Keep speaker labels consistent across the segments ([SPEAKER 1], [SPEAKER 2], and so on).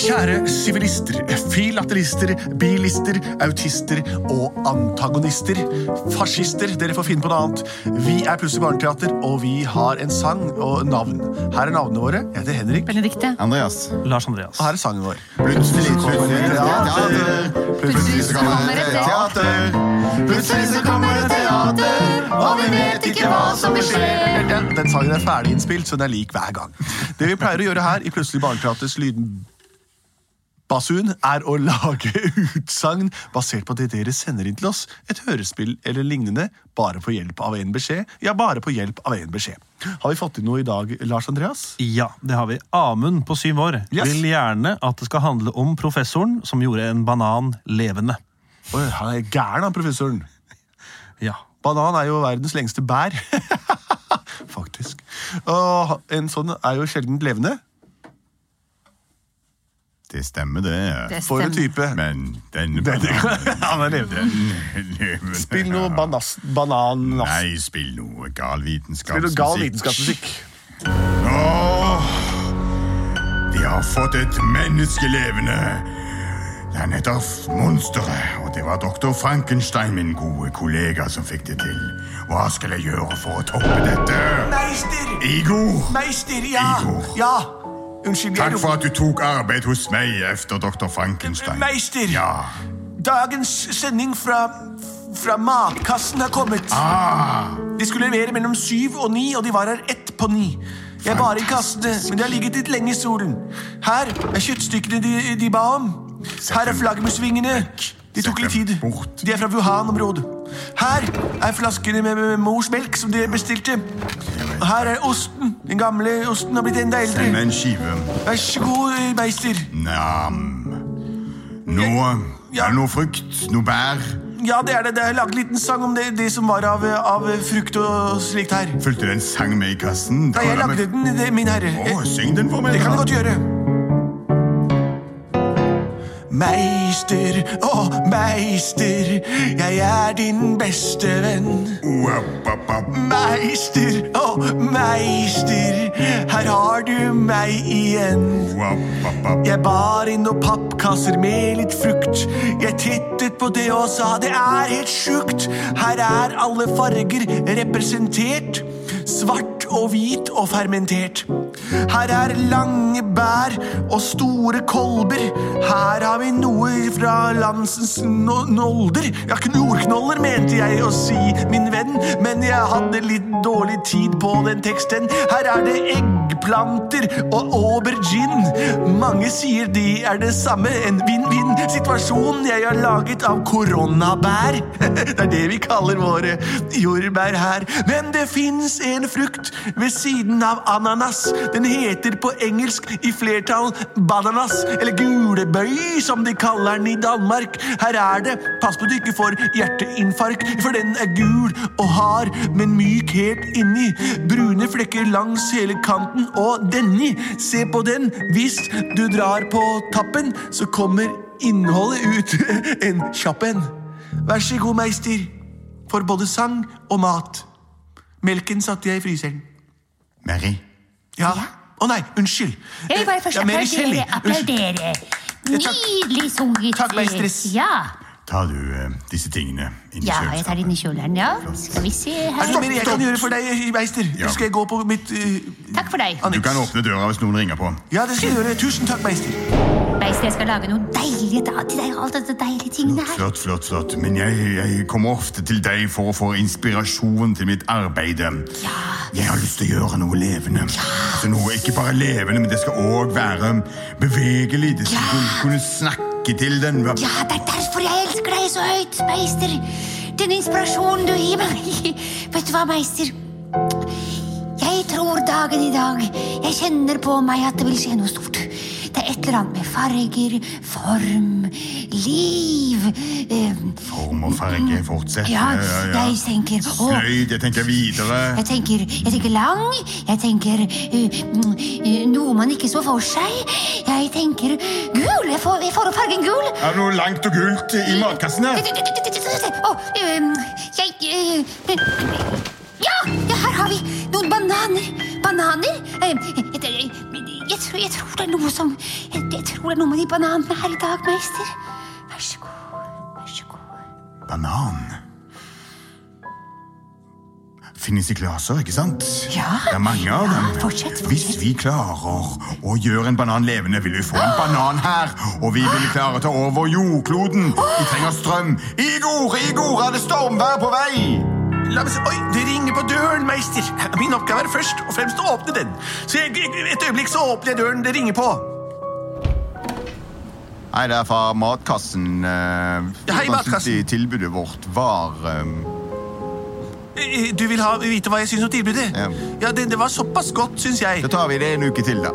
[SPEAKER 1] Kjære sivilister, filaterister, bilister, autister og antagonister. Fascister, dere får finne på noe annet. Vi er Plutselig barneteater, og vi har en sang og navn. Her er navnene våre. Jeg heter Henrik,
[SPEAKER 2] Benedikte.
[SPEAKER 3] Andreas.
[SPEAKER 4] Lars Andreas.
[SPEAKER 1] og her er sangen vår.
[SPEAKER 3] Plutselig kommer det teater. Plutselig så kommer det teater. Plutselig så kommer det teater, og vi vet ikke hva som vil skje.
[SPEAKER 1] Den, den sangen er ferdig innspilt, så den er lik hver gang. Det vi pleier å gjøre her i Plutselig barneteaters lydbasun, er å lage utsagn basert på det dere sender inn til oss. Et hørespill eller lignende, bare på hjelp av en beskjed. Ja, bare på hjelp av en beskjed. Har vi fått inn noe i dag, Lars Andreas?
[SPEAKER 4] Ja, det har vi. Amund på syv år
[SPEAKER 1] Yes.
[SPEAKER 4] vil gjerne at det skal handle om professoren som gjorde en banan levende.
[SPEAKER 1] Oi, han er gæren, han professoren.
[SPEAKER 4] Ja.
[SPEAKER 1] Banan er jo verdens lengste bær. Faktisk. Og en sånn er jo sjelden levende.
[SPEAKER 3] Det stemmer, det.
[SPEAKER 2] Det
[SPEAKER 1] For en
[SPEAKER 2] stemmer.
[SPEAKER 1] type.
[SPEAKER 3] Men denne bananen
[SPEAKER 1] Han er levende. Spill noe banas banan...
[SPEAKER 3] Nei, spill noe gal vitenskapsmusikk.
[SPEAKER 1] Spill noe gal vitenskapsmusikk.
[SPEAKER 3] Åh, de har fått et menneske levende. Det er nettopp monsteret, og det var doktor Frankenstein, min gode kollega, som fikk det til. Hva skal jeg gjøre for å toppe dette?
[SPEAKER 1] Meister!
[SPEAKER 3] Igor,
[SPEAKER 1] Meister,
[SPEAKER 3] Igor.
[SPEAKER 1] Ja! Unnskyld, jeg
[SPEAKER 3] takk
[SPEAKER 1] roper.
[SPEAKER 3] for at du tok arbeid hos meg efter doktor Frankenstein.
[SPEAKER 1] Meister!
[SPEAKER 3] Ja.
[SPEAKER 1] Dagens sending fra, fra Matkassen har kommet.
[SPEAKER 3] Ah,
[SPEAKER 1] De skulle levere mellom syv og ni, og de var her ett på ni. Jeg bar inn kassene, men de har ligget litt lenge i solen. Her er kjøttstykkene de, de ba om. Her er flaggermusvingene. De tok litt tid. De er fra Wuhan-området. Her er flaskene med, med mors melk som de bestilte. Og Her er osten. Den gamle osten har blitt enda
[SPEAKER 3] send
[SPEAKER 1] eldre.
[SPEAKER 3] meg en skive.
[SPEAKER 1] Vær så god, meister.
[SPEAKER 3] Nam. Noe, er det noe frukt, noe bær.
[SPEAKER 1] Ja, det er det. Det er laget en liten sang om det, det som var av, av frukt og slikt her.
[SPEAKER 3] Fulgte det en sang med i kassen?
[SPEAKER 1] Da jeg lagde den, det, min herre.
[SPEAKER 3] Å,
[SPEAKER 1] Eh,
[SPEAKER 3] syng den for meg.
[SPEAKER 1] Det kan jeg
[SPEAKER 3] da.
[SPEAKER 1] godt gjøre. Meister, å meister, jeg er din beste venn.
[SPEAKER 3] Wow, bap, bap.
[SPEAKER 1] Meister, å meister, her har du meg igjen.
[SPEAKER 3] Wow, bap, bap.
[SPEAKER 1] Jeg bar inn noen pappkasser med litt frukt. Jeg tittet på det og sa det er helt sjukt. Her er alle farger representert. Svart og hvit og fermentert. Her er lange bær og store kolber. Her har vi noe fra landsens no nolder. Ja, jordknoller mente jeg å si, min venn, men jeg hadde litt dårlig tid på den teksten. Her er det eggplanter og aubergine. Mange sier de er det samme, en vinn-vinn-situasjon jeg har laget av koronabær. Det er det vi kaller våre jordbær her. Men det fins en frukt ved siden av ananas. Den heter på engelsk i flertall bananas, eller gulebøy, som de kaller den i Danmark. Her er det Pass på at du ikke får hjerteinfarkt, for den er gul og hard, men myk helt inni. Brune flekker langs hele kanten, og denne, se på den. Hvis du drar på tappen, så kommer innholdet ut en kjapp en. Vær så god, meister, for både sang og mat. Melken satte jeg i fryseren.
[SPEAKER 3] Mary,
[SPEAKER 1] Ja. Å nei, unnskyld.
[SPEAKER 5] Jeg vil bare først
[SPEAKER 1] Ja, Mary Shelley.
[SPEAKER 5] applaudere. applaudere. Nydelig sunget.
[SPEAKER 1] Takk, meistress.
[SPEAKER 5] Ja,
[SPEAKER 3] tar du eh, disse tingene inn i
[SPEAKER 5] ja jeg tar inn i kjoleren, ja. Skal vi se her.
[SPEAKER 1] Er det mer jeg kan gjøre for deg, meister?
[SPEAKER 3] Ja.
[SPEAKER 1] Skal jeg gå på mitt eh,
[SPEAKER 5] Takk for deg.
[SPEAKER 1] Anne-
[SPEAKER 3] Du kan åpne døra hvis noen ringer på.
[SPEAKER 1] Ja, det skal jeg gjøre. Tusen takk, meister.
[SPEAKER 5] Beist, jeg skal lage noe deilig da, til deg. Alt dette deilige tingene her.
[SPEAKER 3] Flott, flott, flott. Men jeg, jeg kommer ofte til deg for å få inspirasjon til mitt arbeid. Jeg har lyst til å gjøre noe levende. Altså noe ikke bare levende, men det skal òg være bevegelig. Det skal kunne- kunne snakke til den.
[SPEAKER 5] Ja, det er derfor jeg elsker deg så høyt, meister. Den inspirasjonen du gir meg. Vet du hva, meister? Jeg tror dagen i dag Jeg kjenner på meg at det vil skje noe stort. Det er et eller annet med farger, form, liv eh,
[SPEAKER 3] Form og farge fortsetter.
[SPEAKER 5] ja, jeg tenker å,
[SPEAKER 3] Sløyd. Jeg tenker videre.
[SPEAKER 5] jeg tenker, jeg tenker lang, jeg tenker eh, mm, eh, noe man ikke så for seg. Jeg tenker gul! Jeg får, jeg får opp fargen gul.
[SPEAKER 3] Er det noe langt og gult i matkassen her?
[SPEAKER 5] Å, øhm, jeg øh, Ja, ja, her har vi noen bananer. Bananer? Øhm, Jeg, jeg, tror, jeg tror det er noe som Det Jeg tror det er noe med de bananene her i dag, meister. Vær så god. Vær så god.
[SPEAKER 3] Banan. Finnes i glaser, ikke sant?
[SPEAKER 5] Ja.
[SPEAKER 3] Det er mange av
[SPEAKER 5] Ja,
[SPEAKER 3] dem.
[SPEAKER 5] fortsett, fortsett.
[SPEAKER 3] Hvis vi klarer å gjøre en banan levende, vil vi få en banan her. Og vi vil klare å ta over jordkloden. Vi trenger strøm. Igor, Igor, er det stormvær på vei?
[SPEAKER 1] La meg se. Oi, det ringer på døren, meister. Min oppgave er først og fremst å åpne den. Så jeg, jeg, et øyeblikk så åpner jeg døren det ringer på.
[SPEAKER 3] Nei, det er fra matkassen. eh,
[SPEAKER 1] Ja, hei, matkassen.
[SPEAKER 3] Tilbudet vårt var eh,
[SPEAKER 1] Eh, Du vil ha, vite hva jeg syns om tilbudet?
[SPEAKER 3] Ja.
[SPEAKER 1] Ja, det, det var såpass godt, syns jeg.
[SPEAKER 3] Da tar vi det en uke til, da.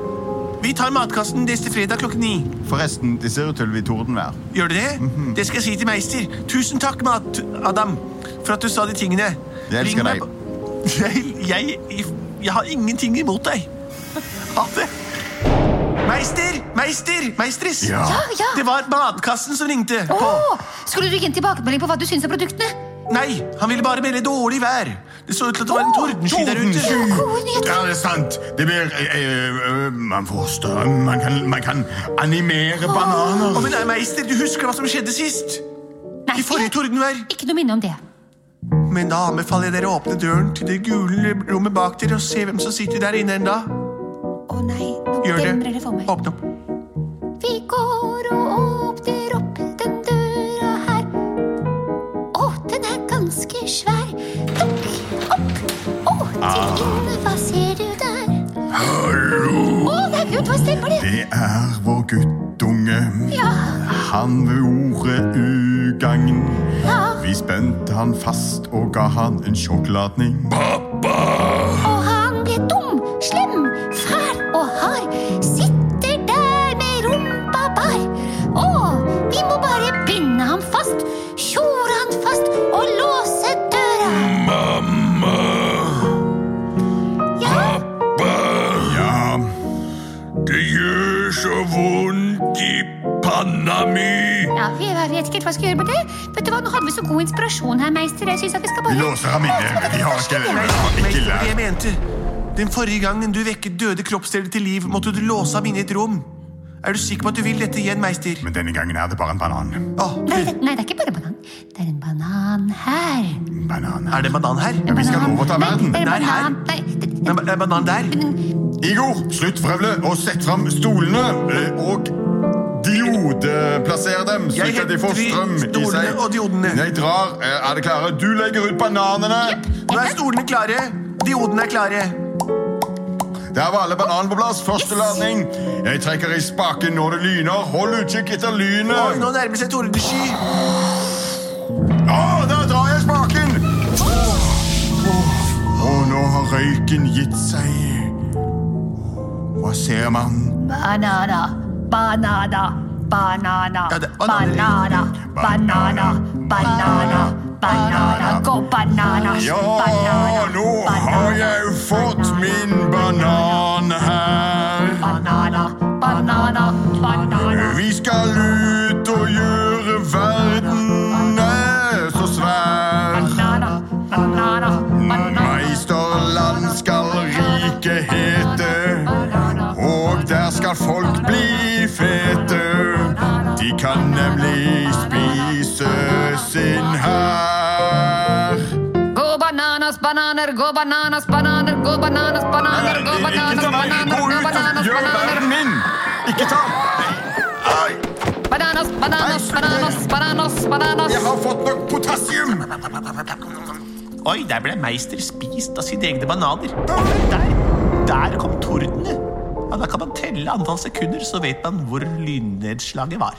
[SPEAKER 1] Vi tar Matkassen neste fredag klokken ni.
[SPEAKER 3] Forresten, det ser ut til å bli tordenvær.
[SPEAKER 1] Gjør du det?
[SPEAKER 3] Mhm.
[SPEAKER 1] Det skal jeg si til meister. Tusen takk, Mat-Adam, for at du sa de tingene.
[SPEAKER 3] Jeg elsker
[SPEAKER 1] Ring meg
[SPEAKER 3] deg.
[SPEAKER 1] på- Jeg, jeg, jeg har ingenting imot deg. Ha det. Meister! Meister! Meistris!
[SPEAKER 3] Ja.
[SPEAKER 5] Ja, ja.
[SPEAKER 1] Det var Matkassen som ringte.
[SPEAKER 5] Å,
[SPEAKER 1] På.
[SPEAKER 5] skulle du gi en tilbakemelding på hva du syns av produktene?
[SPEAKER 1] Nei, han ville bare melde dårlig vær. Det så ut til at det var en
[SPEAKER 5] Å,
[SPEAKER 1] tordensky der ute.
[SPEAKER 5] tordensky. Gode nyheter.
[SPEAKER 3] Ja, det er sant. Det blir eh, eh, Man får strøm. Man kan, man kan animere
[SPEAKER 1] Å,
[SPEAKER 3] bananer.
[SPEAKER 1] men nei, Meister, du husker hva som skjedde sist?
[SPEAKER 5] Nei,
[SPEAKER 1] I forrige
[SPEAKER 5] ikke,
[SPEAKER 1] tordenvær.
[SPEAKER 5] ikke noe minne om det.
[SPEAKER 1] Men da anbefaler jeg dere å åpne døren til det gule rommet bak dere og se hvem som sitter der inne ennå.
[SPEAKER 5] Å nei, nå
[SPEAKER 1] Gjør
[SPEAKER 5] demrer
[SPEAKER 1] det.
[SPEAKER 5] det for meg.
[SPEAKER 1] Åpne opp.
[SPEAKER 5] Vi går og åpner opp den døra her. Å, den er ganske svær. Dukk opp. Å, til inne, hva ser du der?
[SPEAKER 3] Hallo!
[SPEAKER 5] Å, det er Gud, hva stemmer det?
[SPEAKER 3] Det er vår guttunge.
[SPEAKER 5] Ja,
[SPEAKER 3] Han ved ordet ugagn.
[SPEAKER 5] ja.
[SPEAKER 3] Vi spente han fast og ga han en sjokoladning.
[SPEAKER 5] Og han ble dum, slem, fæl og hard. Sitter der med rumpa bar. Å, vi må bare binde ham fast. Tjore han fast og låse døra. Mamma. Ja.
[SPEAKER 3] Ja, det gjør så vondt i panna mi.
[SPEAKER 5] Ja, vi jeg vet ikke helt hva jeg skal gjøre med det. Vet du hva, Nå hadde vi så god inspirasjon her, meister. Jeg synes at vi skal
[SPEAKER 3] Vi
[SPEAKER 5] bare...
[SPEAKER 3] låser ham inne. Vi har ikke, vi har ikke
[SPEAKER 1] Meister, det jeg
[SPEAKER 3] lært.
[SPEAKER 1] mente. Den forrige gangen du vekket døde kroppsdeler til liv, måtte du låse ham inne i et rom. Er du sikker på at du vil dette igjen, Meister?
[SPEAKER 3] Men denne gangen er det bare en banan.
[SPEAKER 1] Å,
[SPEAKER 5] Nei, det, nei, det er ikke bare banan. Det er en banan her.
[SPEAKER 3] Banan.
[SPEAKER 1] er det en banan her?
[SPEAKER 3] vi skal
[SPEAKER 5] Banan.
[SPEAKER 3] overta verden.
[SPEAKER 5] Nei, det er
[SPEAKER 1] Den er
[SPEAKER 5] en
[SPEAKER 1] her.
[SPEAKER 5] banan. Nei, det,
[SPEAKER 1] Det er en banan der.
[SPEAKER 3] Igor, slutt vrøvlet og sett fram stolene eh, og diodeplasser dem,
[SPEAKER 1] Jeg
[SPEAKER 3] slik at de får
[SPEAKER 1] henter
[SPEAKER 3] strøm i
[SPEAKER 1] stolene
[SPEAKER 3] seg.
[SPEAKER 1] og diodene.
[SPEAKER 3] Jeg drar. Eh, Er det klare? Du legger ut bananene.
[SPEAKER 1] Nå er stolene klare. Diodene er klare.
[SPEAKER 3] Der var alle bananene på plass. Første
[SPEAKER 5] Yes.
[SPEAKER 3] ladning. Jeg trekker i spaken når det lyner. Hold utkikk etter
[SPEAKER 1] Oi,
[SPEAKER 3] lynet.
[SPEAKER 1] nå nærmer seg tordensky.
[SPEAKER 3] Å, der drar jeg spaken! Åh, Og nå har røyken gitt seg. Hva ser man?
[SPEAKER 5] Banana. Banana. Banana.
[SPEAKER 1] Ja, det er bananer.
[SPEAKER 5] Banana. Banana. Banana. Banana. Gå banana.
[SPEAKER 3] Ja,
[SPEAKER 5] Banana.
[SPEAKER 3] nå har jeg fått min banan her.
[SPEAKER 5] Banana. Banana. Banana.
[SPEAKER 3] Vi skal ut og gjøre verden eh, så svær.
[SPEAKER 5] Banana. Banana. Banana.
[SPEAKER 3] Meisterland skal riket hete, og der skal folk bli fete. De kan nemlig spise sin hær.
[SPEAKER 2] Go bananas, bananer, go bananas, bananer, go bananas, bananer, go
[SPEAKER 3] Ikke
[SPEAKER 2] bananas,
[SPEAKER 3] ta meg!
[SPEAKER 2] bananer,
[SPEAKER 3] Gå
[SPEAKER 2] go
[SPEAKER 3] ut og
[SPEAKER 2] bananas,
[SPEAKER 3] gjør
[SPEAKER 2] bananer,
[SPEAKER 3] verden min! Ikke ta Ai.
[SPEAKER 2] bananas, bananas, bananas, bananas,
[SPEAKER 3] Jeg
[SPEAKER 2] bananas.
[SPEAKER 3] har fått nok potassium!
[SPEAKER 1] Oi, der ble Meister spist av sine egne bananer. Der, der kom tordene. Ja, da kan man telle antall sekunder, så vet man hvor lynnedslaget var.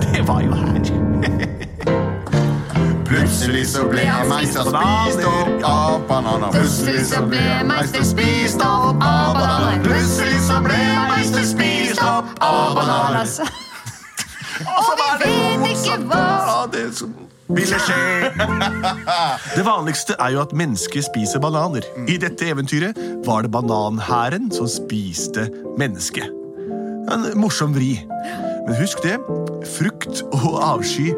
[SPEAKER 1] Det var jo her.
[SPEAKER 3] Plutselig så ble meister spist opp av bananer. Plutselig så ble meister spist opp av bananer. Plutselig så ble meister spist opp av bananer.
[SPEAKER 1] Og
[SPEAKER 2] vi vet ikke hva-
[SPEAKER 1] det som ville skje. Det vanligste er jo at mennesker spiser bananer. I dette eventyret var det bananhæren som spiste mennesket. En morsom vri. Men husk det, frukt og avsky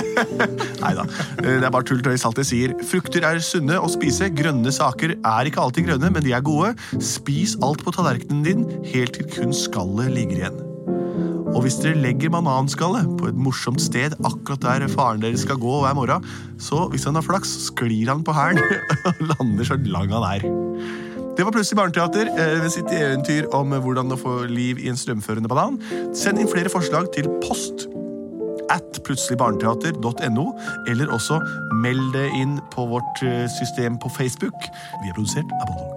[SPEAKER 1] Nei da. Det er bare tulltøy. Saltet sier frukter er sunne å spise. Grønne saker er ikke alltid grønne, men de er gode. Spis alt på tallerkenen din helt til kun skallet ligger igjen. Og hvis dere legger bananskallet på et morsomt sted akkurat der faren deres skal gå hver morgen, så hvis han har flaks, sklir han på hælen og lander så lang han er. Det var Plutselig barneteater eh, ved sitt eventyr om hvordan å få liv i en strømførende banan. Send inn flere forslag til post at plutseligbarneteater.no, eller også meld det inn på vårt eh, system på Facebook. Vi er produsert av Bondelog.